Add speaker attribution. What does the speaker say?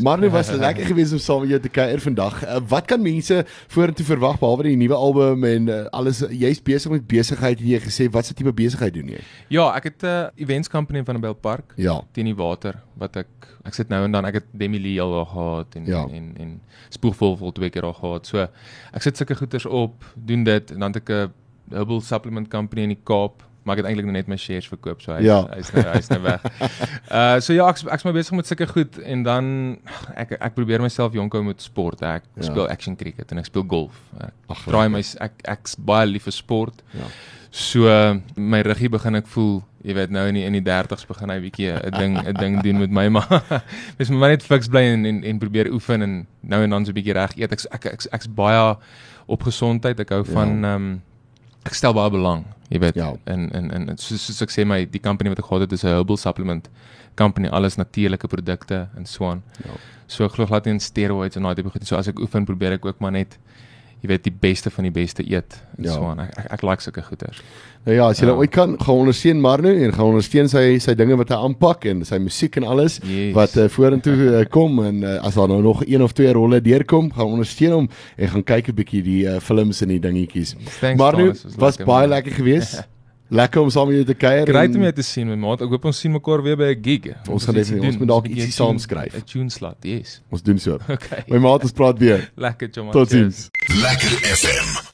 Speaker 1: Manu was lekker geweest om saam met jou te kuier vandag. Uh, wat kan mense vorentoe verwag behalwe die nuwe album en uh, alles? Jy's besig met besigheid, het jy gesê. Wat se tipe besigheid doen jy?
Speaker 2: Ja, ek het 'n uh, events company in Vanderbijl Park
Speaker 1: Ja.
Speaker 2: teen die water wat ek ek sit nou en dan ek het Demi Lee al daar gehad en
Speaker 1: Ja.
Speaker 2: en en, en spoegvol vol twee keer daar gehad. So ek sit sulke goeders op, doen dit en dan het ek 'n herbal supplement company in die Kaap, maar ek het eintlik nou net my shares verkoop, so hy
Speaker 1: Ja.
Speaker 2: ja. hy's nou hy's nou weg. uh so ja, ek's ek's maar besig met sulke goed en dan ek ek probeer myself jonk hou met sport. Ek
Speaker 1: Ja.
Speaker 2: ja. speel action cricket en ek speel golf. Ek
Speaker 1: Ag,
Speaker 2: draai my ek ek's baie lief vir sport.
Speaker 1: Ja.
Speaker 2: So uh, my ruggie begin ek voel, jy weet nou in die, in die 30's begin hy bietjie 'n ding 'n ding doen met my maar mens moet maar net fiks bly en en, en probeer oefen en nou en dan so 'n bietjie reg eet. Ek ek ek's ek's baie op gesondheid. Ek hou
Speaker 1: Ja.
Speaker 2: van ehm um, ek stel baie belang, jy weet.
Speaker 1: Ja.
Speaker 2: In in in soos, soos ek sê my die company wat ek gehad het is 'n herbal supplement company, alles natuurlike produkte en so aan.
Speaker 1: Ja.
Speaker 2: So ek glo glad nie in steroids en daai tipe goed. nie. So as ek oefen, probeer ek ook maar net jy weet die beste van die beste eet en
Speaker 1: Ja.
Speaker 2: ja. so aan. Ek ek, ek like sulke goeders.
Speaker 1: Nou ja, as jy
Speaker 2: Ja.
Speaker 1: ja. ooit kan gaan ondersteun Marno en gaan ondersteun sy sy dinge wat hy aanpak en sy musiek en alles
Speaker 2: Yes.
Speaker 1: wat uh, vorentoe uh, kom en uh, as daar nou nog een of twee rolle deurkom, gaan ondersteun hom en gaan kyk 'n bietjie die uh, films en die dingetjies.
Speaker 2: Thanks
Speaker 1: Marno
Speaker 2: Thomas, was
Speaker 1: was
Speaker 2: lekker,
Speaker 1: baie
Speaker 2: man.
Speaker 1: lekker geweest. lekker om saam met jou te kuier.
Speaker 2: Great
Speaker 1: en-
Speaker 2: om jou te sien my maat. Ek hoop ons sien mekaar weer by 'n gig.
Speaker 1: Ons gaan definitief-
Speaker 2: iets doen.
Speaker 1: ons moet dalk
Speaker 2: bietjie
Speaker 1: ietsie
Speaker 2: een
Speaker 1: saam
Speaker 2: tune-
Speaker 1: skryf.
Speaker 2: 'n Tune slot, yes.
Speaker 1: Ons doen so.
Speaker 2: Okay.
Speaker 1: My maat, ons praat weer.
Speaker 2: Lekker, Jomma.
Speaker 1: Totsiens.
Speaker 2: Cheers.
Speaker 3: Lekker FM.